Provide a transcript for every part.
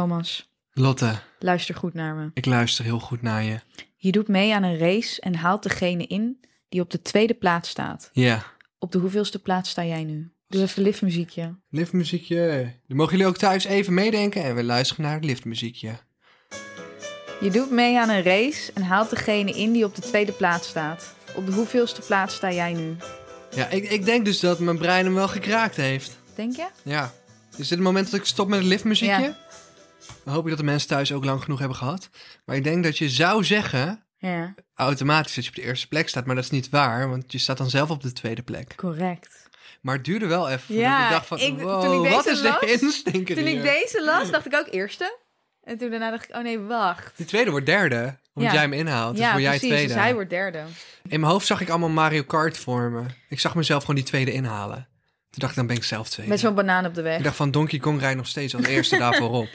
Thomas, Lotte, luister goed naar me. ik luister heel goed naar je. Je doet mee aan een race en haalt degene in die op de tweede plaats staat. Ja. Op de hoeveelste plaats sta jij nu? Dus even liftmuziekje. Liftmuziekje. Dan mogen jullie ook thuis even meedenken en we luisteren naar het liftmuziekje. Je doet mee aan een race en haalt degene in die op de tweede plaats staat. Op de hoeveelste plaats sta jij nu? Ja, ik, ik denk dus dat mijn brein hem wel gekraakt heeft. Denk je? Ja. Is dit het moment dat ik stop met het liftmuziekje? Ja. Dan hoop ik dat de mensen thuis ook lang genoeg hebben gehad. Maar ik denk dat je zou zeggen, Ja, automatisch, dat je op de eerste plek staat. Maar dat is niet waar, want je staat dan zelf op de tweede plek. correct. Maar het duurde wel even. Ja, Ja, ik dacht van, ik- toen ik wow, deze wat is de las, instinker Toen ik hier? deze las, dacht ik ook eerste. En toen daarna dacht ik, oh nee, wacht. Die tweede wordt derde, omdat Ja. jij hem inhaalt. Dus ja, voor jij precies. tweede. Dus hij wordt derde. In mijn hoofd zag ik allemaal Mario Kart voor me. Ik zag mezelf gewoon die tweede inhalen. Toen dacht ik, dan ben ik zelf tweede. Met zo'n banaan op de weg. Ik dacht van, Donkey Kong rijdt nog steeds als eerste daarvoor op.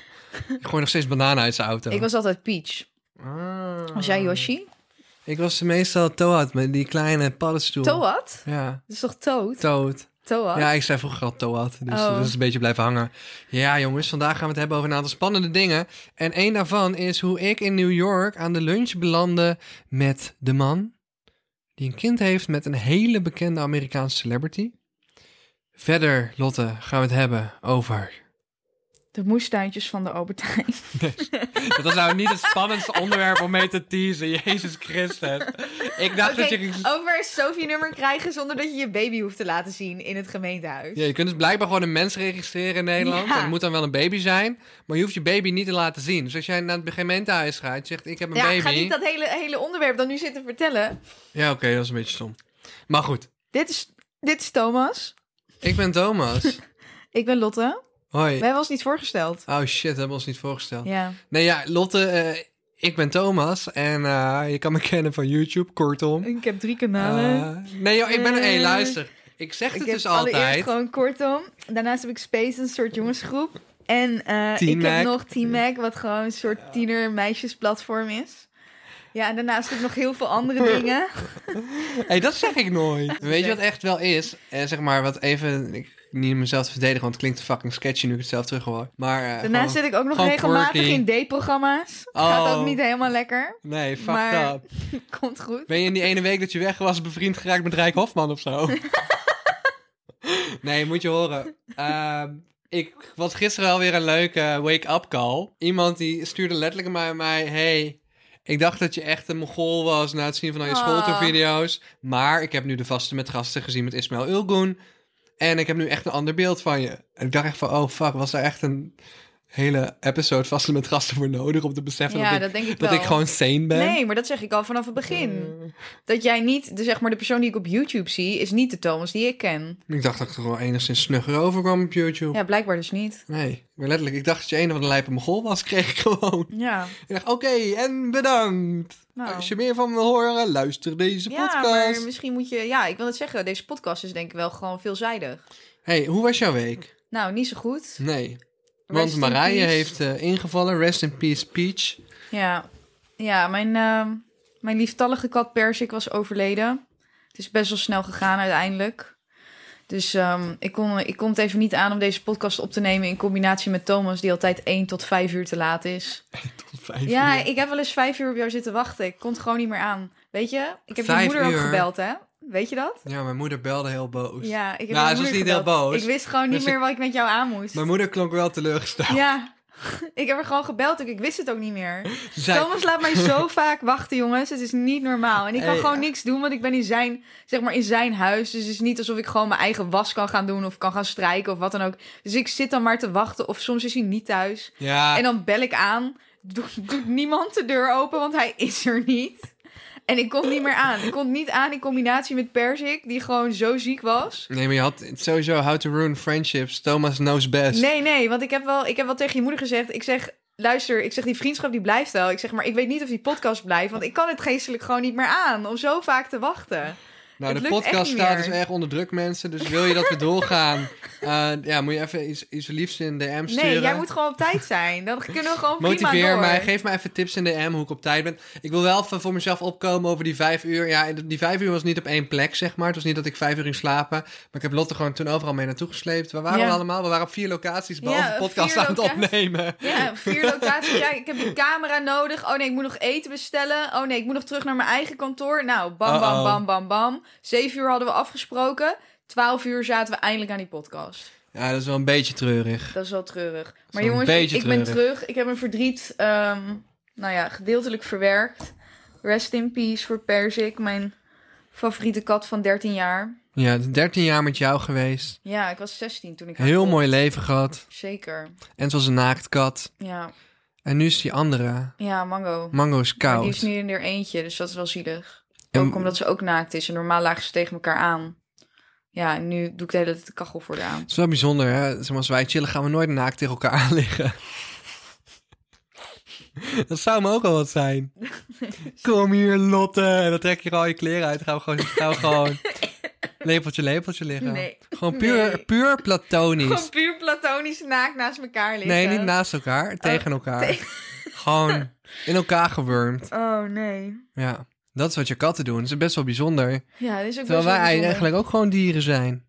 Ik gooi nog steeds bananen uit zijn auto. Ik was altijd Peach. Ah. Was jij Yoshi? Ik was meestal Toad met die kleine paddenstoel. Toad? Ja, Dat is toch Toad? Toad. Toad? Ja, ik zei vroeger al Toad, dus Oh. dat is een beetje blijven hangen. Ja, jongens, vandaag gaan we het hebben over een aantal spannende dingen. En één daarvan is hoe ik in New York aan de lunch belandde met de man die een kind heeft met een hele bekende Amerikaanse celebrity. Verder, Lotte, gaan we het hebben over... De moestuintjes van de Albert Heijn. Dat was nou niet het spannendste onderwerp om mee te teasen, Jezus Christus. Ik dacht dat Oké, je... Over een Sophie-nummer krijgen zonder dat je je baby hoeft te laten zien in het gemeentehuis. Ja, je kunt dus blijkbaar gewoon een mens registreren in Nederland. Ja. En het moet dan wel een baby zijn. Maar je hoeft je baby niet te laten zien. Dus als jij naar het gemeentehuis gaat en je zegt: Ik heb een Ja, baby. ga niet dat hele, hele onderwerp dan nu zitten vertellen. Ja, oké, dat is een beetje stom. Maar goed, Dit is, dit is Thomas. ik ben Thomas. Ik ben Lotte. Hoi. We hebben ons niet voorgesteld. Oh shit, hebben we ons niet voorgesteld. Ja. Nee, ja, Lotte, eh, ik ben Thomas. En eh, je kan me kennen van YouTube, kortom. Ik heb drie Eh, nee, joh, ik ben. Hé, Eh, luister. Ik zeg ik het heb dus allereerst altijd. gewoon kortom. Daarnaast heb ik Space, een soort jongensgroep. En eh, ik T-Mac. heb nog T-Mac, wat gewoon een soort tiener-meisjesplatform is. Ja, en daarnaast heb ik nog heel veel andere dingen. Hé, dat zeg ik nooit. Weet je wat echt wel is? Eh, zeg maar, wat even... Ik, niet om mezelf te verdedigen, want het klinkt fucking sketchy nu ik het zelf terug hoor. Maar... eh, Daarnaast gewoon- zit ik ook nog gewoon regelmatig quirky. in D-programma's. Gaat ook Oh. niet helemaal lekker. Nee, fuck maar- up. Komt goed. Ben je in die ene week dat je weg was bevriend geraakt met Rijk Hofman of zo? nee, moet je horen. Ehm, ik was gisteren alweer een leuke wake-up call. Iemand die stuurde letterlijk maar mij... Hey, ik dacht dat je echt een mongool was na het zien van al je Ah. schooltourvideo's. Maar ik heb nu de vaste met gasten gezien met Ismail Ulgoen. En ik heb nu echt een ander beeld van je. En ik dacht echt van, oh fuck, was daar echt een hele episode vaste met gasten voor nodig... om te beseffen Ja, dat, ik, dat denk ik dat wel. ik gewoon sane ben? Mm. Nee, maar dat zeg ik al vanaf het begin. Dat jij niet, de, zeg maar, de persoon die ik op YouTube zie, is niet de Thomas die ik ken. Ik dacht dat ik er wel enigszins snugger overkwam op YouTube. Ja, blijkbaar dus niet. Nee, maar letterlijk, ik dacht dat je een van de lijpen Mogol was, kreeg ik gewoon. Ja, Ik dacht, oké, en bedankt. nou. Als je meer van me horen, luister deze ja, podcast. maar misschien moet je... Ja, ik wil het zeggen, deze podcast is denk ik wel gewoon veelzijdig. hey, hoe was jouw week? Nou, niet zo goed. Nee, Rest want in Marije peace. heeft eh, ingevallen. Rest in peace, Peach. Ja, ja mijn, ehm mijn lieftallige kat Persik was overleden. Het is best wel snel gegaan uiteindelijk. Dus ehm, ik, kon, ik kon het even niet aan om deze podcast op te nemen in combinatie met Thomas, die altijd 1 tot 5 uur te laat is. Tot vijf Ja, uur. ik heb wel eens 5 uur op jou zitten wachten. Ik kon het gewoon niet meer aan. Weet je, ik heb je Vijf moeder uur? ook gebeld, hè? Weet je dat? Ja, mijn moeder belde heel boos. Ja, ik heb Nou, je ze was moeder niet heel gebeld. boos. Ik wist gewoon Dus niet ik- meer wat ik met jou aan moest. Mijn moeder klonk wel teleurgesteld. Ja, ik heb er gewoon gebeld. ook. Ik wist het ook niet meer. Ze zei, Thomas laat mij zo vaak wachten, jongens. Het is niet normaal. En ik kan Hey, gewoon ja. niks doen, want ik ben in zijn, zeg maar, in zijn huis. Dus het is niet alsof ik gewoon mijn eigen was kan gaan doen of kan gaan strijken of wat dan ook. Dus ik zit dan maar te wachten. Of soms is hij niet thuis. ja, En dan bel ik aan. Doet, doet niemand de deur open, want hij is er niet. En ik kom niet meer aan. Ik kon niet aan in combinatie met Persik, die gewoon zo ziek was. nee, maar je had sowieso How to Ruin Friendships. Thomas knows best. Nee, nee, want ik heb, wel, ik heb wel tegen je moeder gezegd. Ik zeg, luister, ik zeg, die vriendschap die blijft wel. Ik zeg, maar ik weet niet of die podcast blijft. Want ik kan het geestelijk gewoon niet meer aan om zo vaak te wachten. Nou, Het de lukt echt podcast niet staat meer. dus erg onder druk, mensen. Dus wil je dat we doorgaan? eh, ja, moet je even iets, iets liefs in DM sturen. Nee, jij moet gewoon op tijd zijn. Dan kunnen we gewoon prima Motiveer door. mij, geef mij even tips in de DM hoe ik op tijd ben. Ik wil wel even voor mezelf opkomen over die vijf uur. Ja, die vijf uur was niet op één plek, zeg maar. Het was niet dat ik vijf uur ging slapen. Maar ik heb Lotte gewoon toen overal mee naartoe gesleept. Waar waren Ja. we allemaal? We waren op vier locaties, behalve Ja, podcast vier aan het locaties. opnemen. Ja, vier locaties. Ja, ik heb die camera nodig. Oh nee, ik moet nog eten bestellen. Oh nee, ik moet nog terug naar mijn eigen kantoor. Nou, bam, bam, Uh-oh. bam, bam, bam. Zeven uur hadden we afgesproken. Twaalf uur zaten we eindelijk aan die podcast. Ja, dat is wel een beetje treurig. Dat is wel treurig. Maar wel een jongens, ik beetje ben treurig. terug. Ik heb mijn verdriet, ehm, nou ja, gedeeltelijk verwerkt. Rest in peace voor Perzik, mijn favoriete kat van 13 jaar. Ja, het is 13 jaar met jou geweest. Ja, ik was 16 toen ik haar Heel kocht. mooi leven gehad. Zeker. En zoals een naaktkat. Ja, En nu is die andere. ja mango. Mango is Maar koud. die is nu in haar eentje, dus dat is wel zielig. En- Ook omdat ze ook naakt is. En normaal lagen ze tegen elkaar aan. Ja, en nu doe ik de hele tijd de kachel voor haar aan. Het is wel bijzonder, hè? Zeg maar, als wij chillen, gaan we nooit naakt tegen elkaar aan liggen. Dat zou me ook al wat zijn. Kom hier, Lotte. En dan trek je al je kleren uit. Dan gaan we gewoon, gaan we gewoon lepeltje, lepeltje liggen. Nee. Gewoon puur, Nee. puur platonisch. Gewoon puur platonisch naakt naast elkaar liggen. Oh, nee, niet naast elkaar. Tegen elkaar. Gewoon in elkaar gewurmd. Oh, nee. Ja, dat is wat je katten doen. Dat is best wel bijzonder. Ja, dit is ook Terwijl best wel wij bijzonder. eigenlijk ook gewoon dieren zijn.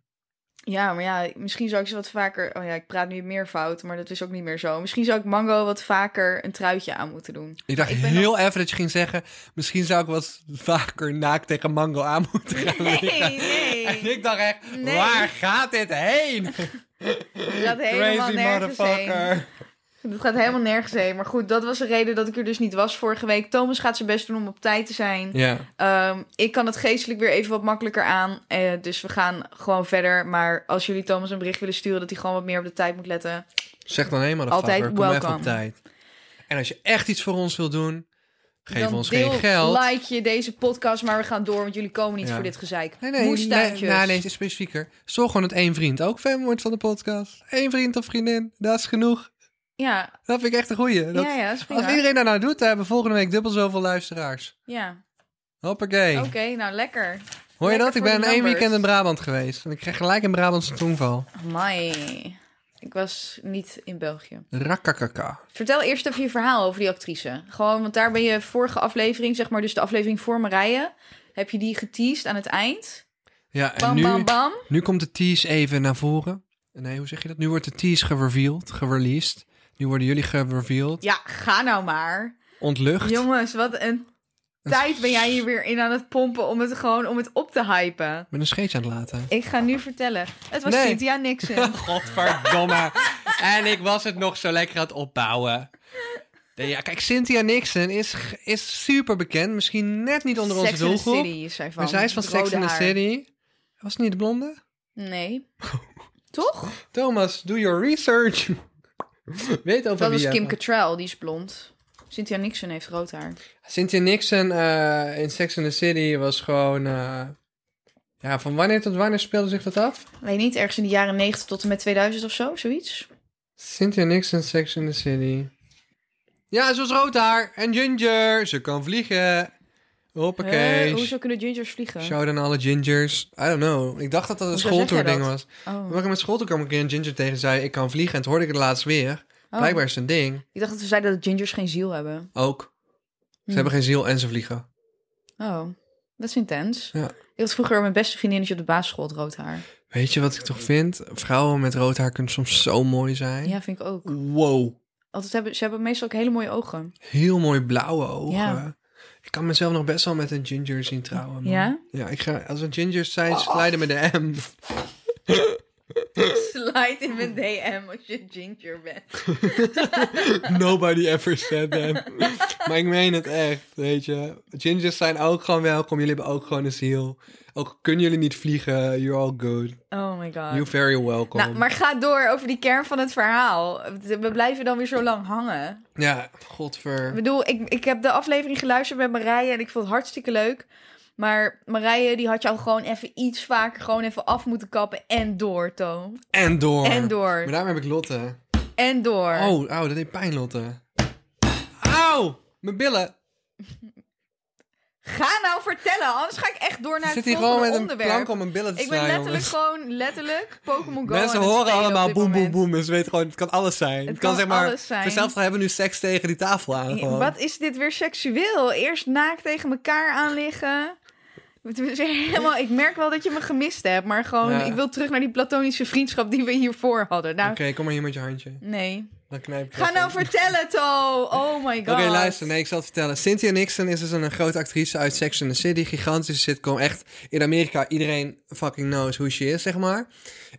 Ja, maar ja, misschien zou ik ze wat vaker... Oh ja, ik praat nu meer fout, maar dat is ook niet meer zo. Misschien zou ik Mango wat vaker een truitje aan moeten doen. Ik dacht Ik ben heel even dat je ging zeggen... misschien zou ik wat vaker naakt tegen Mango aan moeten gaan liggen. Nee, nee. En ik dacht echt, Nee. waar gaat dit heen? Dat gaat helemaal Crazy nergens heen. motherfucker. Dat gaat helemaal nergens heen. Maar goed, dat was de reden dat ik er dus niet was vorige week. Thomas gaat zijn best doen om op tijd te zijn. Ja, Ehm, ik kan het geestelijk weer even wat makkelijker aan. Eh, dus we gaan gewoon verder. Maar als jullie Thomas een bericht willen sturen dat hij gewoon wat meer op de tijd moet letten. zeg dan helemaal de Altijd fucker, kom even welcome. op tijd. En als je echt iets voor ons wil doen, geef dan ons deel, geen geld. Like je deze podcast, maar we gaan door. Want jullie komen niet Ja. voor dit gezeik. Nee, nee, Moestuintjes. nee, nee, nee, specifieker. Zorg gewoon dat één vriend ook fan wordt van de podcast. Eén vriend of vriendin, dat is genoeg. Ja, Dat vind ik echt een goeie. Dat, ja, ja, dat is als prima. iedereen daar nou doet, dan hebben we volgende week dubbel zoveel luisteraars. Ja, Hoppakee. oké, nou lekker. Hoor je Lekker dat? Ik voor ben de één numbers. weekend in Brabant geweest. En ik kreeg gelijk een Brabantse tongval. Amai. Ik was niet in België. Rakkakaka. Vertel eerst even je verhaal over die actrice. Gewoon, want daar ben je vorige aflevering, zeg maar, dus de aflevering voor Marije. Heb je die geteased aan het eind? Ja, en Bam, nu, bam, bam. nu komt de tease even naar voren. Nee, hoe zeg je dat? Nu wordt de tease gereveeld, gereleased. Nu worden jullie gereveeld, Ja, ga nou maar. ontlucht. Jongens, wat een tijd ben jij hier weer in aan het pompen om het gewoon om het op te hypen. Ik ben een scheetje aan het laten. Ik ga nu vertellen. Het was Nee. Cynthia Nixon. Godverdomme. en ik was het nog zo lekker aan het opbouwen. Nee, Ja, kijk, Cynthia Nixon is, g- is super bekend. Misschien net niet onder onze Sex in the doelgroep. City is zij van. Maar zij is van Het Sex rode in the haar. City. Was het niet de blonde? Nee. Toch? Thomas, do your research. Weet Dat over wie was je- Kim Cattrall, die is blond. Cynthia Nixon heeft rood haar. Cynthia Nixon eh, in Sex and the City was gewoon... eh, ja, van wanneer tot wanneer speelde zich dat af? Weet niet, ergens in de jaren 90 tot en met 2000 of zo, zoiets. Cynthia Nixon, Sex and the City. Ja, ze was rood haar en ginger. Ze kan vliegen. Huh? Hoppakee. Eh, hoezo kunnen gingers vliegen? Shout aan alle gingers. I don't know. Ik dacht dat dat een Hoezo zeg jij schooltourding dat? was. Oh. Maar ik met school toen kwam ik een ginger tegen en zei ik kan vliegen. En toen hoorde ik het laatst weer. Oh. Blijkbaar is het een ding. Ik dacht dat ze zeiden dat gingers geen ziel hebben. Ook. Ze Hm. hebben geen ziel en ze vliegen. Oh, dat is intens. Ja. Ik had vroeger mijn beste vriendinnetje op de basisschool het rood haar. Weet je wat ik toch vind? Vrouwen met rood haar kunnen soms zo mooi zijn. Ja, vind ik ook. Wow. Altijd hebben, ze hebben meestal ook hele mooie ogen. Heel mooi blauwe ogen. Ja. Ik kan mezelf nog best wel met een ginger zien trouwen. man. Ja? Ja, ik ga, als een ginger zijn, slijden met de M. Slide in mijn DM als je ginger bent. Nobody ever said that. maar ik meen het echt, weet je. Gingers zijn ook gewoon welkom. Jullie hebben ook gewoon een ziel. Ook kunnen jullie niet vliegen, you're all good. Oh my You're god. very welcome. Nou, maar ga door over die kern van het verhaal. We blijven dan weer zo lang hangen. Ja, Ik godver. bedoel, ik, ik heb de aflevering geluisterd met Marije en ik vond het hartstikke leuk. Maar Marije, die had jou gewoon even iets vaker gewoon even af moeten kappen en door, Toon. En door. En Maar door. daarom heb ik Lotte. En door. Oh, auw, dat deed pijn, Lotte. Auw, mijn billen. Ga nou vertellen, anders ga ik echt door naar Zit het hier volgende gewoon met een onderwerp. plank om een billen te ik ben slaan, letterlijk jongens. gewoon, letterlijk, Pokémon Go Mensen aan het horen spelen allemaal op dit boem, boem, moment. boem. Dus ze weten gewoon, het kan alles zijn. Het, kan zeg maar, alles zijn. voor hetzelfde hebben we nu seks tegen die tafel aan. gewoon. Wat is dit weer seksueel? Eerst naakt tegen elkaar aan liggen. Het is weer Helemaal, ik merk wel dat je me gemist hebt, maar gewoon, Ja. ik wil terug naar die platonische vriendschap die we hiervoor hadden. Nou, Oké, kom maar hier met je handje. nee. Dan knijp ik Ga even. nou vertellen, To. Oh my god. Oké, luister. Nee, ik zal het vertellen. Cynthia Nixon is dus een grote actrice uit Sex and the City. Gigantische sitcom. Echt, in Amerika, iedereen fucking knows hoe she is, zeg maar.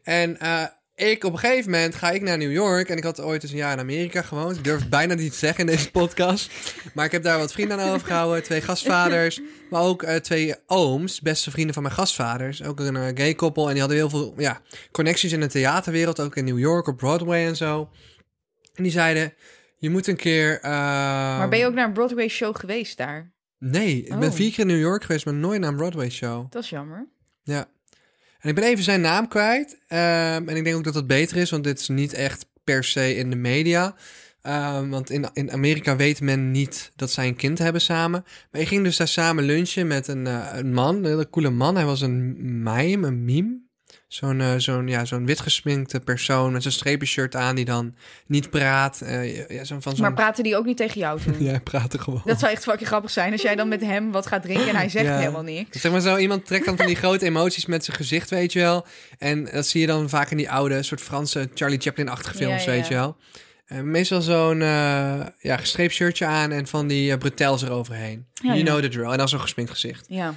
En eh, ik, op een gegeven moment ga ik naar New York. En ik had ooit eens een jaar in Amerika gewoond. Ik durf het bijna niet te zeggen in deze podcast. Maar ik heb daar wat vrienden aan overgehouden. Twee gastvaders. Maar ook eh, twee ooms. Beste vrienden van mijn gastvaders. Ook een eh, gay koppel. En die hadden heel veel ja, connecties in de theaterwereld. Ook in New York, op Broadway en zo. En die zeiden... Je moet een keer. eh, Maar ben je ook naar een Broadway show geweest daar? Nee, ik ben Oh. vier keer in New York geweest, maar nooit naar een Broadway show. Dat is jammer. Ja. En ik ben even zijn naam kwijt. Ehm, en ik denk ook dat dat beter is, want dit is niet echt per se in de media. Ehm, want in, in Amerika weet men niet dat zij een kind hebben samen. Maar ik ging dus daar samen lunchen met een, eh, een man, een hele coole man. Hij was een mime, een meme. Zo'n eh, zo'n ja, zo'n witgesminkte persoon met zo'n strepenshirt aan die dan niet praat. Eh, ja, zo'n- van zo'n... Maar praten die ook niet tegen jou toen? Jij praatte gewoon. Dat zou echt fucking grappig zijn als jij dan met hem wat gaat drinken en hij zegt Ja. helemaal niks. Zeg maar zo, iemand trekt dan van die grote emoties met zijn gezicht, weet je wel. En dat zie je dan vaak in die oude, soort Franse Charlie Chaplin-achtige films, Ja, ja. weet je wel. En meestal zo'n eh, ja, gestreept shirtje aan en van die eh, bretels eroverheen. Ja, you ja. know the drill. En dan zo'n gesminkt gezicht. Ja. Een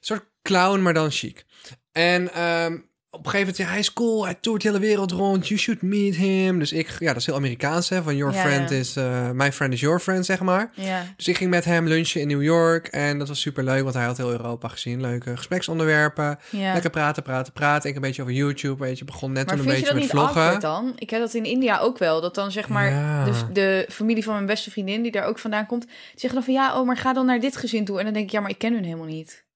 soort clown, maar dan chic. En ehm, op een gegeven moment, ja, hij is cool, hij toert de hele wereld rond, you should meet him. Dus ik, ja, dat is heel Amerikaans, hè, van your Ja, friend ja. is, eh, my friend is your friend, zeg maar. Ja. Dus ik ging met hem lunchen in New York en dat was super leuk, want hij had heel Europa gezien. Leuke gespreksonderwerpen, ja. lekker praten, praten, praten. Ik een beetje over YouTube, weet je, begon net Maar toen vind een je beetje dat met niet vloggen. awkward dan? Ik heb dat in India ook wel. Dat dan zeg maar Ja. de, de familie van mijn beste vriendin, die daar ook vandaan komt, die zeggen dan van ja, oh, maar ga dan naar dit gezin toe. En dan denk ik, ja, maar ik ken hun helemaal niet.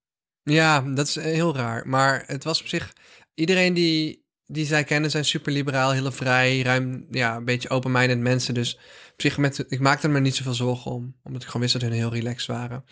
Ja, dat is eh, heel raar. Maar het was op zich, iedereen die, die zij kennen zijn super liberaal, heel vrij, ruim, ja, een beetje open-minded mensen. Dus op zich, met, ik maakte me niet zoveel zorgen om, omdat ik gewoon wist dat hun heel relaxed waren.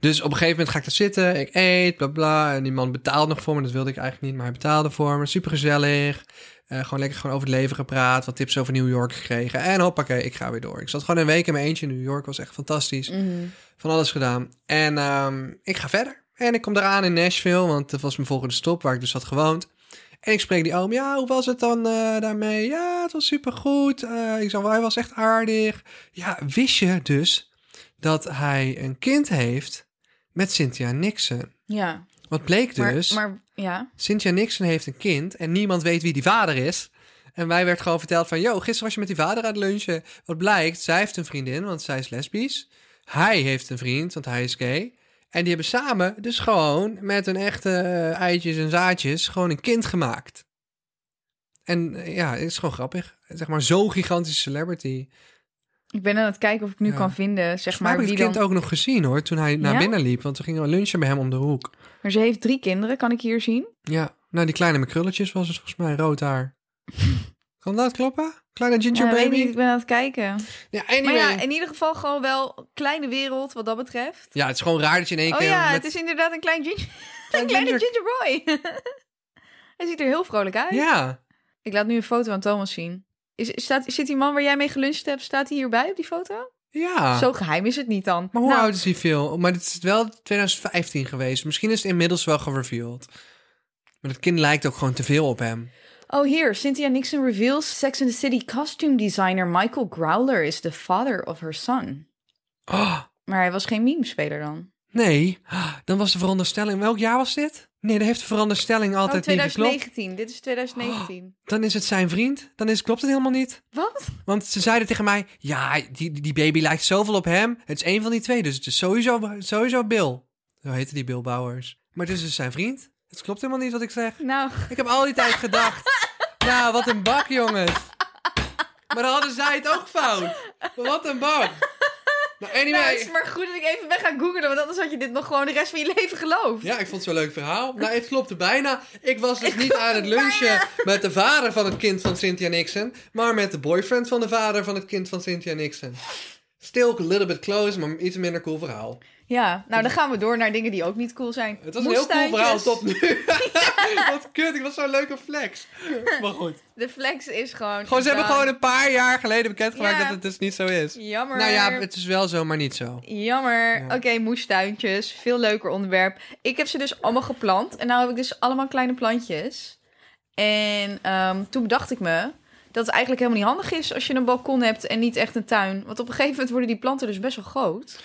Dus op een gegeven moment ga ik daar zitten, ik eet, bla bla. En die man betaalt nog voor me, dat wilde ik eigenlijk niet, maar hij betaalde voor me. Super gezellig. gewoon lekker gewoon over het leven gepraat, wat tips over New York gekregen. En hoppakee, ik ga weer door. Ik zat gewoon een week in mijn eentje in New York, was echt fantastisch Mm. van alles gedaan. En ehm, ik ga verder. En ik kom eraan in Nashville, want dat was mijn volgende stop waar ik dus had gewoond. En ik spreek die oom, ja, hoe was het dan eh, daarmee? Ja, het was supergoed. Eh ik zeg, hij was echt aardig. Ja, wist je dus dat hij een kind heeft met Cynthia Nixon? Ja. Wat bleek Maar, dus, maar ja. Cynthia Nixon heeft een kind en niemand weet wie die vader is. En wij werd gewoon verteld van, yo, gisteren was je met die vader aan het lunchen. Wat blijkt, zij heeft een vriendin, want zij is lesbisch. Hij heeft een vriend, want hij is gay. En die hebben samen dus gewoon met hun echte eh, eitjes en zaadjes gewoon een kind gemaakt. En eh, ja, het is gewoon grappig. Zeg maar zo'n gigantische celebrity. Ik ben aan het kijken of ik nu Ja. kan vinden, zeg Maar maar, heb ik wie het dan... kind ook nog gezien hoor, toen hij naar Ja? binnen liep. Want we gingen lunchen bij hem om de hoek. Maar ze heeft drie kinderen, kan ik hier zien? Ja, nou die kleine met krulletjes was het volgens mij rood haar. kan dat kloppen? Kleine ginger Ja, weet baby? niet, ik ben aan het kijken. Ja, anyway. Maar Ja, ja, in ieder geval gewoon wel kleine wereld wat dat betreft. het is gewoon raar dat je in één Oh keer ja, eh, met het is inderdaad een klein ginger, klein een kleine ginger boy. Hij ziet er heel vrolijk uit. Ja, Ik laat nu een foto aan Thomas zien. Is, staat, zit die man waar jij mee geluncht hebt, staat hij hierbij op die foto? ja. Zo geheim is het niet dan. Ah. Maar hoe Nou, oud is hij veel? Maar het is wel 2015 geweest. Misschien is het inmiddels wel gereveeld. Maar dat kind lijkt ook gewoon te veel op hem. Oh, hier. Cynthia Nixon reveals Sex and the City costume designer Michael Growler is the father of her son. Oh, Maar hij was geen meme-speler dan. nee. Ah, Dan was de veronderstelling... Welk jaar was dit? Nee, dan heeft de veronderstelling altijd oh, niet geklopt. 2019. Dit is 2019. Dan is het zijn vriend. Dan is, klopt het helemaal niet. Wat? Want ze zeiden tegen mij: Ja, die, die- die baby lijkt zoveel op hem. Het is één van die twee, dus het is sowieso, sowieso Bill. Zo heette die Bill Bowers. Maar het is dus zijn vriend. Het klopt helemaal niet wat ik zeg. Nou, Ik heb al die tijd gedacht. Nou, wat een bak, jongens. Maar dan hadden zij het ook fout. Wat een bak. Nou, nou het is anyway. maar goed dat ik even ben gaan googlen, want anders had je dit nog gewoon de rest van je leven geloofd. Ja, ik vond het zo'n leuk verhaal. Nou, het klopte bijna. Ik was dus niet aan het lunchen met de vader van het kind van Cynthia Nixon, maar met de boyfriend van de vader van het kind van Cynthia Nixon. Still a little bit close, maar iets minder cool verhaal. Ja, nou dan gaan we door naar dingen die ook niet cool zijn. Het was een heel cool verhaal Moestuintjes. tot nu. Wat kut, ik was zo'n leuke flex. Maar goed. De flex is gewoon... Gewoon, ze hebben dan- gewoon een paar jaar geleden bekendgemaakt Ja. dat het dus niet zo is. Jammer. Nou ja, het is wel zo, maar niet zo. Jammer. Ja. Oké, moestuintjes. Veel leuker onderwerp. Ik heb ze dus allemaal geplant. En nou heb ik dus allemaal kleine plantjes. En ehm, toen bedacht ik me dat het eigenlijk helemaal niet handig is als je een balkon hebt en niet echt een tuin. Want op een gegeven moment worden die planten dus best wel groot.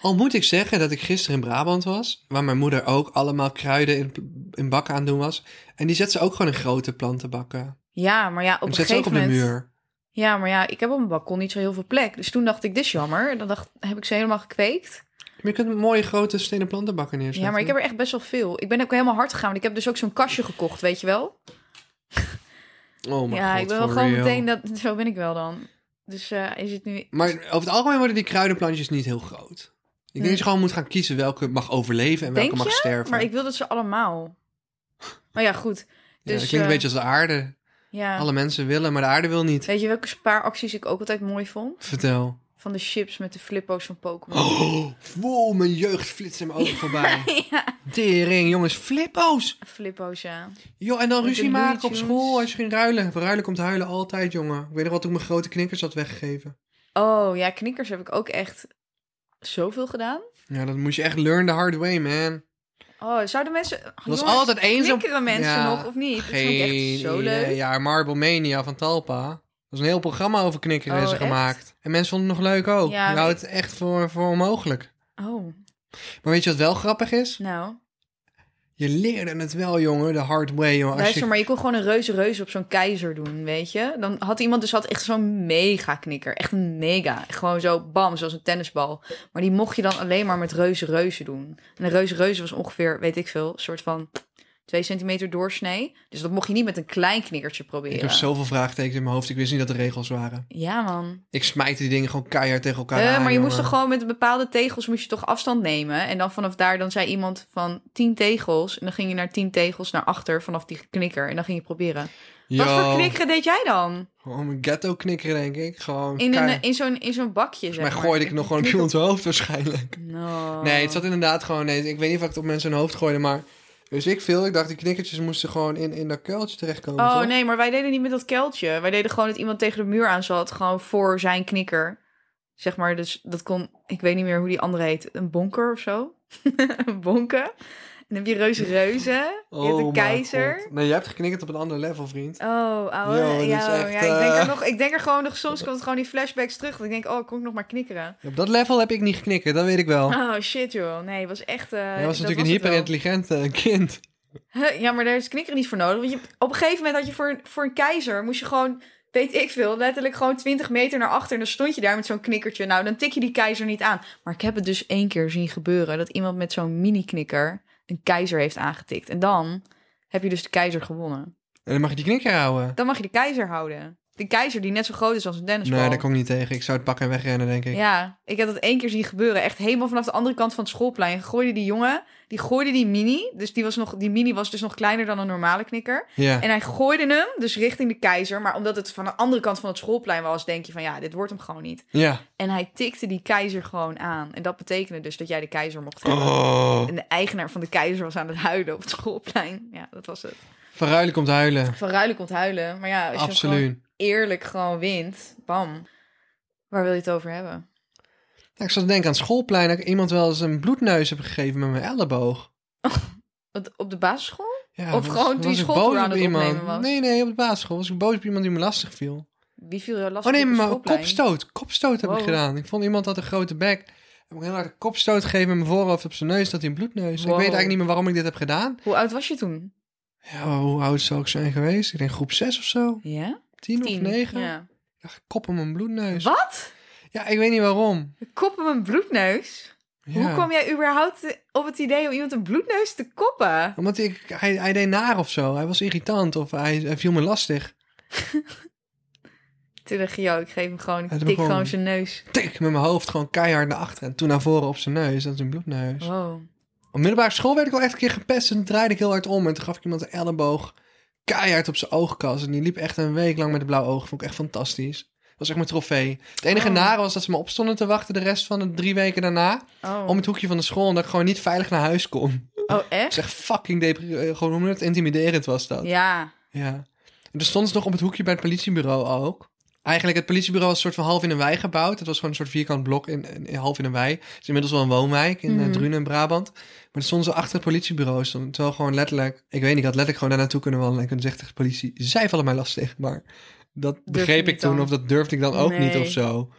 Al moet ik zeggen dat ik gisteren in Brabant was, waar mijn moeder ook allemaal kruiden in, in bakken aan het doen was. En die zet ze ook gewoon in grote plantenbakken. Ja, maar ja, op En een zet ze ook gegeven op de moment. muur. Ja, maar ja, ik heb op mijn balkon niet zo heel veel plek. Dus toen dacht ik, dit is jammer. En dan dacht, heb ik ze helemaal gekweekt. Maar je kunt mooie grote stenen plantenbakken neerzetten. Ja, maar ik heb er echt best wel veel. Ik ben ook helemaal hard gegaan. Want ik heb dus ook zo'n kastje gekocht, weet je wel. Oh my ja, God, ik ben wel for gewoon real. meteen dat. Zo ben ik wel dan. Dus eh, is het nu. Maar over het algemeen worden die kruidenplantjes niet heel groot. Ik denk Nee. dat je gewoon moet gaan kiezen welke mag overleven en welke Denk mag je? sterven. Maar ik wil dat ze allemaal. Maar ja, goed. Ja, Dus, dat klinkt eh, een beetje als de aarde. Ja. Alle mensen willen, maar de aarde wil niet. Weet je welke spaaracties ik ook altijd mooi vond? Vertel. Van de chips met de flippo's van Pokémon. Oh, wow, mijn jeugd flitst in mijn ogen voorbij. ja, Tering, jongens, flippo's. flippo's, ja. Joh, en dan Met ruzie de Looney maken op Tunes. school als je ging ruilen. Ruilen komt huilen altijd, jongen. Ik weet nog wat toen ik mijn grote knikkers had weggegeven. Oh ja, knikkers heb ik ook echt zoveel gedaan. Ja, dat moest je echt learn the hard way, man. Oh, zouden mensen. Oh, Er was jongens, altijd één zo'n... knikkeren mensen Ja, nog of niet? Dat vond ik Geen echt zo idee. leuk. Ja, Marble Mania van Talpa. Er was een heel programma over knikkeren Oh, is er echt? gemaakt. En mensen vonden het nog leuk ook. Ja, je houdt het echt voor, voor onmogelijk. Oh, Maar weet je wat wel grappig is? nou. Je leerde het wel, jongen, de hard way, jongen. Als Luister, je... maar je kon gewoon een reuze reus op zo'n keizer doen, weet je? Dan had iemand dus had echt zo'n mega knikker. Echt een mega. Gewoon zo bam, zoals een tennisbal. Maar die mocht je dan alleen maar met reuze reuzen doen. En een reuze reuze was ongeveer, weet ik veel, een soort van twee centimeter doorsnee. Dus dat mocht je niet met een klein knikkertje proberen. Ik heb zoveel vraagtekens in mijn hoofd. Ik wist niet dat de regels waren. Ja, man. Ik smijt die dingen gewoon keihard tegen elkaar Eh, aan, maar je moest jongen. toch gewoon met bepaalde tegels moest je toch afstand nemen. En dan vanaf daar, dan zei iemand van tien tegels. En dan ging je naar tien tegels naar achter vanaf die knikker. En dan ging je proberen. Wat Yo. voor knikkeren deed jij dan? Gewoon een ghetto knikker, denk ik. Gewoon In, een, eh, keihard. in zo'n in zo'n bakje. Zeg Volgens mij maar. gooide ik nog gewoon in iemands hoofd waarschijnlijk. No. Nee, het zat inderdaad gewoon... Nee, ik weet niet of ik het op mensen hun hoofd gooide, maar... Dus ik veel. Ik dacht, die knikkertjes moesten gewoon in, in dat kuiltje terechtkomen, Oh toch? nee, maar wij deden niet met dat keltje. Wij deden gewoon dat iemand tegen de muur aan zat, gewoon voor zijn knikker. Zeg maar, dus dat kon, ik weet niet meer hoe die andere heet, een bonker of zo. een bonken. En dan heb je reuze reuzen. Je hebt een my keizer. Oh God. Nee, je hebt geknikkerd op een ander level, vriend. Oh, ouwe. Yo, dit is ja, echt, ja, ik, denk er eh, nog, ik denk er gewoon nog, soms komt gewoon die flashbacks terug. Dat ik denk, oh, kon ik nog maar knikkeren. Op dat level heb ik niet geknikkerd, dat weet ik wel. Oh, shit joh. Nee, het was echt... eh, Jij was dat natuurlijk een het wel. hyperintelligent eh, kind. Huh, Ja, maar daar is knikker niet voor nodig. Want je, op een gegeven moment had je voor, voor een keizer, moest je gewoon, weet ik veel, letterlijk gewoon 20 meter naar achter. En dan stond je daar met zo'n knikkertje. Nou, dan tik je die keizer niet aan. Maar ik heb het dus één keer zien gebeuren dat iemand met zo'n mini-knikker een keizer heeft aangetikt. En dan heb je dus de keizer gewonnen. En dan mag je die knikker houden. Dan mag je de keizer houden. De keizer die net zo groot is als een tennisbal. Nee, daar kom ik niet tegen. Ik zou het pakken en wegrennen, denk ik. Ja, ik heb dat één keer zien gebeuren. Echt helemaal vanaf de andere kant van het schoolplein. Gooide die jongen, die gooide die mini. Dus die, was nog, die mini was dus nog kleiner dan een normale knikker. Ja. En hij gooide hem dus richting de keizer. Maar omdat het van de andere kant van het schoolplein was, denk je van ja, dit wordt hem gewoon niet. ja. En hij tikte die keizer gewoon aan. En dat betekende dus dat jij de keizer mocht hebben. Oh. En de eigenaar van de keizer was aan het huilen op het schoolplein. Ja, dat was het. Van ruilen komt huilen. Van ruilen komt huilen. Maar ja, als je hem gewoon Absoluut. eerlijk gewoon wint, bam. Waar wil je het over hebben? Ja, ik zat te denken aan het schoolplein dat ik iemand wel eens een bloedneus heb gegeven met mijn elleboog. Wat, op de basisschool? Ja, Of gewoon toen je ik schooltour boos aan op het iemand. opnemen was. Nee, nee, op de basisschool was ik boos op iemand die me lastig viel. Wie viel jou oh lastig nee, op het maar schoolplein? kopstoot. Kopstoot heb ik Wow. gedaan. Ik vond iemand had een grote bek. Heb ik heel hard een kopstoot gegeven met mijn voorhoofd op zijn neus, dat hij een bloedneus. Ik Wow. weet eigenlijk niet meer waarom ik dit heb gedaan. Hoe oud was je toen? Ja, hoe oud zou ik zijn geweest? Ik denk groep 6 of zo. Ja? 10 of Tien. 9. Ja. Ja, kop op mijn bloedneus. Wat? Ja, ik weet niet waarom. Kop op een bloedneus? Ja. Hoe kwam jij überhaupt op het idee om iemand een bloedneus te koppen? Omdat ik, hij, hij deed naar of zo. Hij was irritant of hij, hij viel me lastig. Toen dacht je, joh, ik geef hem gewoon, ik Hij doet tik hem gewoon gewoon. zijn neus. Tik met mijn hoofd gewoon keihard naar achteren. En toen naar voren op zijn neus. Dat is een bloedneus. Wow. Op middelbare school werd ik wel echt een keer gepest. En toen draaide ik heel hard om. En toen gaf ik iemand een elleboog keihard op zijn oogkas. En die liep echt een week lang met een blauw oog. Vond ik echt fantastisch. was echt mijn trofee. Het enige Oh. nare was dat ze me opstonden te wachten de rest van de drie weken daarna. Oh, Om het hoekje van de school. En dat ik gewoon niet veilig naar huis kon. Het oh echt? is echt fucking depre- eh, Gewoon hoe het intimiderend was dat. Ja. Ja. En toen stonden ze nog op het hoekje bij het politiebureau ook. Eigenlijk, het politiebureau was een soort van half in een wei gebouwd. Het was gewoon een soort vierkant blok, in, in- in- half in een wei. Het is inmiddels wel een woonwijk in eh, Mhm. Drunen en Brabant. Maar dan stonden ze achter het politiebureau. Stonden, terwijl gewoon letterlijk, ik weet niet, ik had letterlijk gewoon daar naartoe kunnen wandelen. En kunnen zeggen tegen de politie, zij vallen mij lastig. Maar dat begreep je ik niet toen dan? of dat durfde ik dan ook niet Nee. of zo.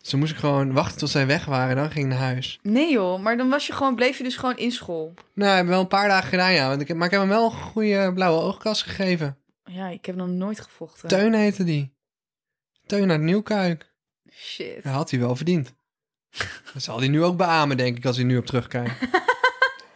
Dus dan moest ik gewoon wachten tot zij weg waren en dan ging ik naar huis. Nee joh, maar dan was je gewoon, bleef je dus gewoon in school. Nou, ik heb wel een paar dagen gedaan, ja. Want ik heb, maar ik heb hem wel een goede blauwe oogkas gegeven. Ja, ik heb nog nooit gevochten. Teun heette die. Teun uit Nieuwkuik. Shit. Dat had hij wel verdiend. Dat zal hij nu ook beamen, denk ik, als hij nu op terugkijkt.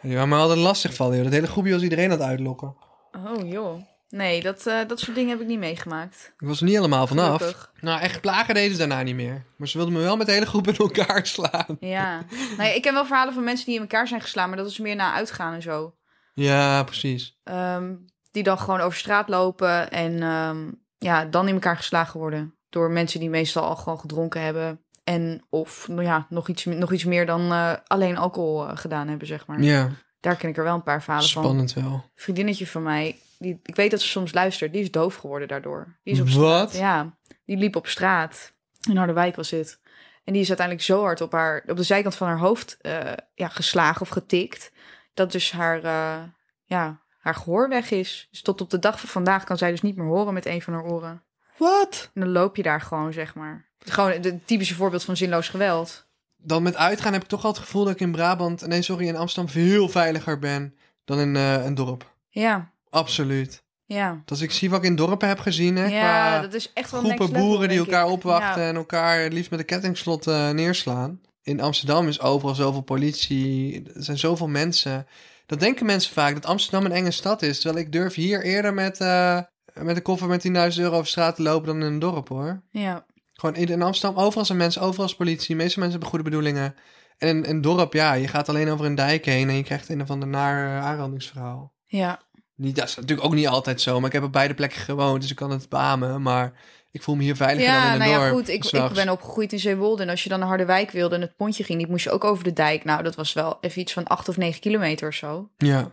Die waren me altijd lastig vallen, joh. Dat hele groepje was iedereen aan het uitlokken. Oh joh. Nee, dat, eh, dat soort dingen heb ik niet meegemaakt. Ik was er niet helemaal vanaf. Gelukkig. Nou, echt plagen deden ze daarna niet meer. Maar ze wilden me wel met de hele groep in elkaar slaan. Ja. nou, ja, ik heb wel verhalen van mensen die in elkaar zijn geslaan, maar dat is meer na uitgaan en zo. Ja, precies. Ehm, die dan gewoon over straat lopen en ehm, ja, dan in elkaar geslagen worden. Door mensen die meestal al gewoon gedronken hebben. En of nou ja, nog, iets, nog iets meer dan eh, alleen alcohol eh, gedaan hebben, zeg maar. Ja, Daar ken ik er wel een paar verhalen van. spannend wel. Een vriendinnetje van mij, die, ik weet dat ze soms luistert, die is doof geworden daardoor. Die is op Wat? Ja, die liep op straat. In Harderwijk was dit. En die is uiteindelijk zo hard op, haar, op de zijkant van haar hoofd eh, ja, geslagen of getikt. Dat dus haar, eh, ja, haar gehoor weg is. Dus tot op de dag van vandaag kan zij dus niet meer horen met een van haar oren. Wat? En dan loop je daar gewoon, zeg maar. Het is Gewoon het typische voorbeeld van zinloos geweld. Dan met uitgaan heb ik toch al het gevoel dat ik in Brabant... Nee, sorry, in Amsterdam veel veiliger ben dan in eh, een dorp. Ja, Absoluut. ja. Dat ik zie wat ik in dorpen heb gezien, hè, qua Ja, dat is echt wel groepen next level, boeren die denk elkaar ik. opwachten Ja. en elkaar het liefst met een kettingslot eh, neerslaan. In Amsterdam is overal zoveel politie, er zijn zoveel mensen. Dat denken mensen vaak, dat Amsterdam een enge stad is. Terwijl ik durf hier eerder met, eh, met een koffer met 10.000 euro over straat te lopen dan in een dorp, hoor. ja. Gewoon in, in Amsterdam, overal zijn mensen, overal is politie. De meeste mensen hebben goede bedoelingen. En in een dorp, ja, je gaat alleen over een dijk heen en je krijgt een of ander naar eh, aanrandingsverhaal. Ja, Niet, dat is natuurlijk ook niet altijd zo, maar ik heb op beide plekken gewoond, dus ik kan het beamen. Maar ik voel me hier veiliger dan in Dus ja een nou dorp. ja, goed. Ik, ik s'nachts. ben opgegroeid in Zeewolde. En als je dan naar Harderwijk wilde en het pontje ging, die moest je ook over de dijk. Nou, dat was wel even iets van acht of negen kilometer of zo. Ja,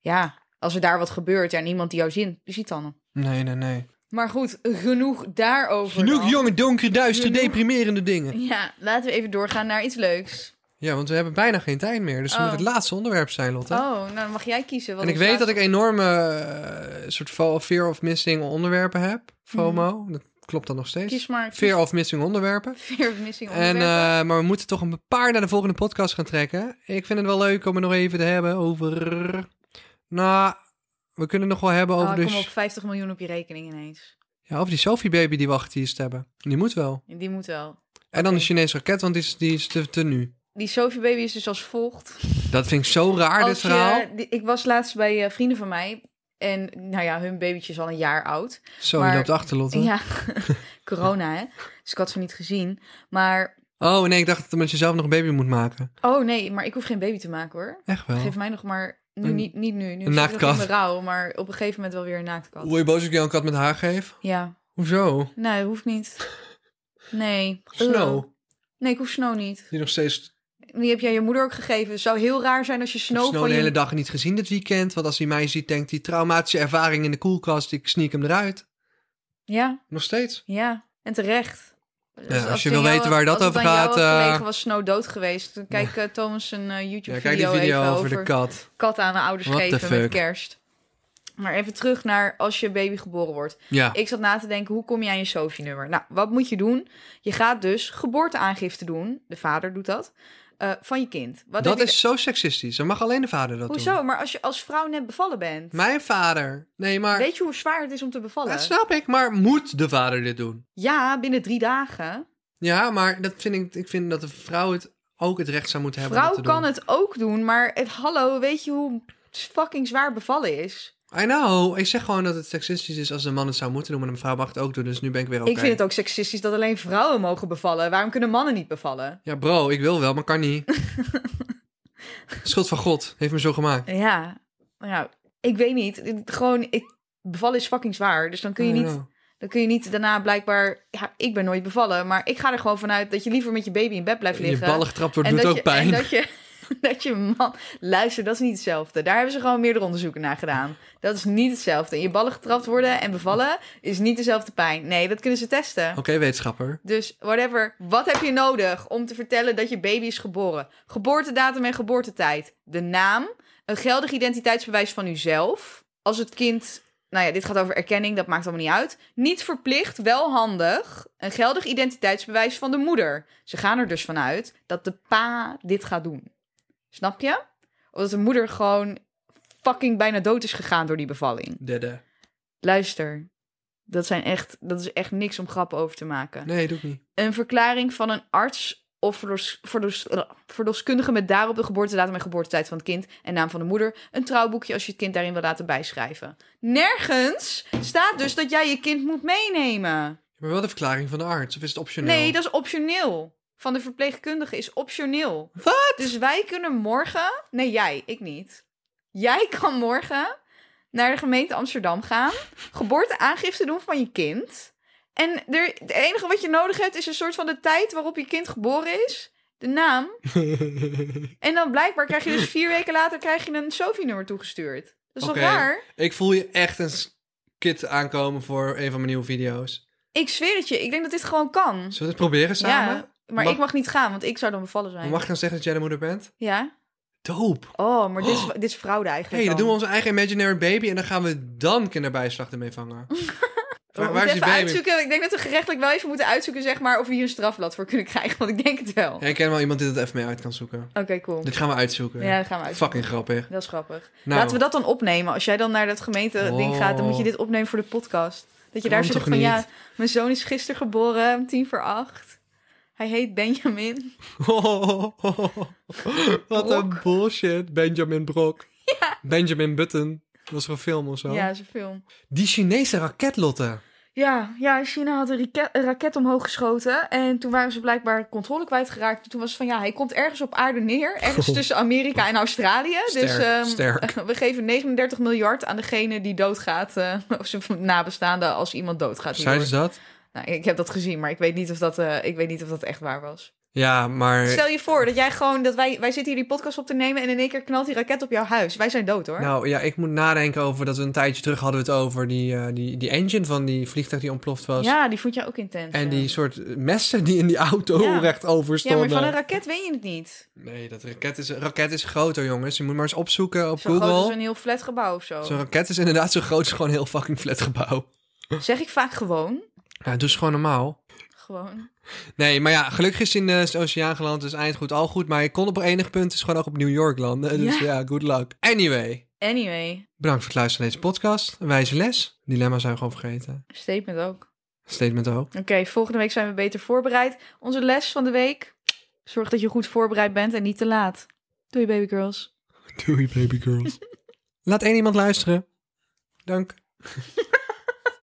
Ja, als er daar wat gebeurt ja, en iemand die jou zin, ziet dan. nee, nee, nee. Maar goed, genoeg daarover. Genoeg dan. jonge, donkere, duistere, Genoeg. deprimerende dingen. Ja, laten we even doorgaan naar iets leuks. Ja, want we hebben bijna geen tijd meer, dus het Oh. moet het laatste onderwerp zijn, Lotte. Oh, nou dan mag jij kiezen. wat en ik ons weet dat ik laatste- enorme eh, soort fo- fear of missing onderwerpen heb, FOMO. Dat klopt dan nog steeds. Hmm. Kies maar. kies- Fear of missing onderwerpen. Fear of missing En, onderwerpen. eh, maar we moeten toch een paar naar de volgende podcast gaan trekken. Ik vind het wel leuk om het nog even te hebben over... Nou, we kunnen het nog wel hebben Oh, eh, over, ik dus de kom op s- 50 miljoen op je rekening ineens. ja, over die Sophie-baby die we al geteased hebben. Die moet wel. En Die moet wel. dan de Oké. Chinese raket, want die is, die is te, te nu. Die Sophie Baby is dus als volgt. Dat vind ik zo raar, dit Als je- verhaal. die- ik was laatst bij eh, vrienden van mij. En nou ja, hun babytje is al een jaar oud. Zo, je maar- loopt achter, Lotte. Ja, corona hè. Dus ik had ze niet gezien. Maar, Oh, nee, ik dacht dat je zelf nog een baby moet maken. oh nee, maar ik hoef geen baby te maken hoor. Echt wel. Geef mij nog maar, nu Oh. Een- niet, niet nu. Nu een is het nog naaktkat. in rouw, maar op een gegeven moment wel weer een naaktkat. Word je boos als ik jou een kat met haar geef? Ja, Hoezo? nee, dat hoeft niet. Nee. Snow. Ugh. Nee, ik hoef snow niet. Die nog steeds Die heb jij je moeder ook gegeven. Het zou heel raar zijn als je snow, snow, van de je... hele dag niet gezien dit weekend. Want als hij mij ziet, denkt hij traumatische ervaring in de koelkast. Ik sneak hem eruit. Ja, Nog steeds. ja. En terecht. als je het wil aan jou- weten waar dat als het over aan jou gaat, had eh, gelegen was snow dood geweest. Dan kijk eh, Thomas een Ja, YouTube-video kijk die video even over de kat. kat aan de ouders What the geven met fuck? kerst. Maar even terug naar als je baby geboren wordt. Ja. Ik zat na te denken, hoe kom je aan je Sophie-nummer? Nou, wat moet je doen? Je gaat dus geboorteaangifte doen. De vader doet dat. eh, van je kind. Wat dat heb je- is zo seksistisch. Dan mag alleen de vader dat doen. Hoezo? Maar als je als vrouw net bevallen bent. Mijn vader. Nee, maar... Weet je hoe zwaar het is om te bevallen? Dat snap ik, maar moet de vader dit doen? Ja, binnen drie dagen. Ja, maar dat vind ik, ik vind dat de vrouw het ook het recht zou moeten hebben. vrouw dat te kan doen. het ook doen, maar het, hallo, weet je hoe fucking zwaar bevallen is? I know. Ik zeg gewoon dat het seksistisch is als een man het zou moeten doen, maar een vrouw mag het ook doen. Dus nu ben ik weer oké. Ik vind het ook seksistisch dat alleen vrouwen mogen bevallen. Waarom kunnen mannen niet bevallen? Ja, bro, ik wil wel, maar kan niet. Schuld van God heeft me zo gemaakt. Ja, nou ja, ik weet niet. Gewoon, ik, bevallen is fucking zwaar. Dus dan kun je I niet, know. Dan kun je niet daarna blijkbaar... Ja, ik ben nooit bevallen, maar ik ga er gewoon vanuit... dat je liever met je baby in bed blijft Je liggen. ballen getrapt wordt, en doet dat ook je, pijn. En dat je, dat je man... Luister, dat is niet hetzelfde. Daar hebben ze gewoon meerdere onderzoeken naar gedaan. Dat is niet hetzelfde. In je ballen getrapt worden en bevallen is niet dezelfde pijn. Nee, dat kunnen ze testen. Oké, wetenschapper. Dus whatever, wat heb je nodig om te vertellen dat je baby is geboren? Geboortedatum en geboortetijd. De naam, een geldig identiteitsbewijs van uzelf. Als het kind, nou ja, dit gaat over erkenning, dat maakt allemaal niet uit. Niet verplicht, wel handig, een geldig identiteitsbewijs van de moeder. Ze gaan er dus vanuit dat de pa dit gaat doen. Snap je? Omdat de moeder gewoon fucking bijna dood is gegaan door die bevalling. Dede. Luister, dat, zijn echt, dat is echt niks om grappen over te maken Nee, doe ik niet. een verklaring van een arts of verlos- verlos- verloskundige met daarop de geboortedatum en geboortetijd van het kind en naam van de moeder. Een trouwboekje als je het kind daarin wil laten bijschrijven. Nergens staat dus dat jij je kind moet meenemen. Maar wel de verklaring van de arts. Of is het optioneel? Nee, dat is optioneel. Van de verpleegkundige is optioneel. Wat? Dus wij kunnen morgen. Nee, jij, ik niet. Jij kan morgen naar de gemeente Amsterdam gaan, geboorteaangifte doen van je kind. En er, het enige wat je nodig hebt is een soort van de tijd waarop je kind geboren is, de naam. En dan blijkbaar krijg je dus vier weken later krijg je een Sophie-nummer toegestuurd. Dat is Oké. toch raar? ik voel je echt een skit aankomen voor een van mijn nieuwe video's. Ik zweer het je, ik denk dat dit gewoon kan. Zullen we het proberen samen? Ja, maar Mag- ik mag niet gaan, want ik zou dan bevallen zijn. Mag ik dan zeggen dat jij de moeder bent? Ja? Doop. Oh, maar dit is, dit is fraude Hé, eigenlijk. hey, dan doen we dan. onze eigen imaginary baby en dan gaan we dan kinderbijslag ermee vangen. waar We moeten waar is die even baby? uitzoeken. Oh, Ik denk dat we gerechtelijk wel even moeten uitzoeken, zeg maar, of we hier een strafblad voor kunnen krijgen. Want ik denk het wel. Ja, ik ken wel iemand die dat even mee uit kan zoeken. Oké, cool. Dit gaan we uitzoeken. Ja, dat gaan we uit. Fucking grappig. Dat is grappig. Nou. Laten we dat dan opnemen. Als jij dan naar dat gemeente-ding Oh. gaat, dan moet je dit opnemen voor de podcast. Dat je Kan daar zegt toch van, niet? ja, mijn zoon is gisteren geboren, om tien voor acht. Hij heet Benjamin. Wat een Brok. bullshit. Benjamin Brok. Benjamin Button. Dat was een film of zo. Ja, is een film. Die Chinese raketlotten. Ja, ja, China had een, rike- een raket omhoog geschoten. En toen waren ze blijkbaar controle kwijtgeraakt. Toen was het van ja, hij komt ergens op aarde neer. Ergens tussen Amerika en Australië. Oh. Sterk, dus ehm, sterk. we geven 39 miljard aan degene die doodgaat. eh, of zijn nabestaanden als iemand doodgaat. Zeiden hierdoor. ze dat? Nou, ik heb dat gezien, maar ik weet niet of dat, eh, ik weet niet of dat echt waar was. Ja, maar... Stel je voor dat jij gewoon, dat wij, wij zitten hier die podcast op te nemen. En in één keer knalt die raket op jouw huis. Wij zijn dood hoor. Nou ja, ik moet nadenken over dat we een tijdje terug hadden we het over die, eh, die, die engine van die vliegtuig die ontploft was. ja, die vond jij ook intens. En ja. die soort messen die in die auto Ja. rechtover ja, maar stonden. van een raket weet je het niet. Nee, dat raket is, een raket is groter, jongens. Je moet maar eens opzoeken op Zo groot als Google. een heel flat gebouw of zo. Zo'n raket is inderdaad zo groot als gewoon een heel fucking flat gebouw. Zeg ik vaak gewoon. Ja, dus gewoon normaal. Gewoon. Nee, maar ja, gelukkig is in de oceaan geland, dus eind goed, al goed. Maar ik kon op enig punt dus gewoon ook op New York landen. Dus Ja. ja, good luck. Anyway, Anyway, bedankt voor het luisteren naar deze podcast. Een wijze les. Dilemma zijn we gewoon vergeten. statement ook. Statement ook. Oké, volgende week zijn we beter voorbereid. Onze les van de week. Zorg dat je goed voorbereid bent en niet te laat. Doei baby girls. Doei, baby girls. Laat één iemand luisteren. Dank.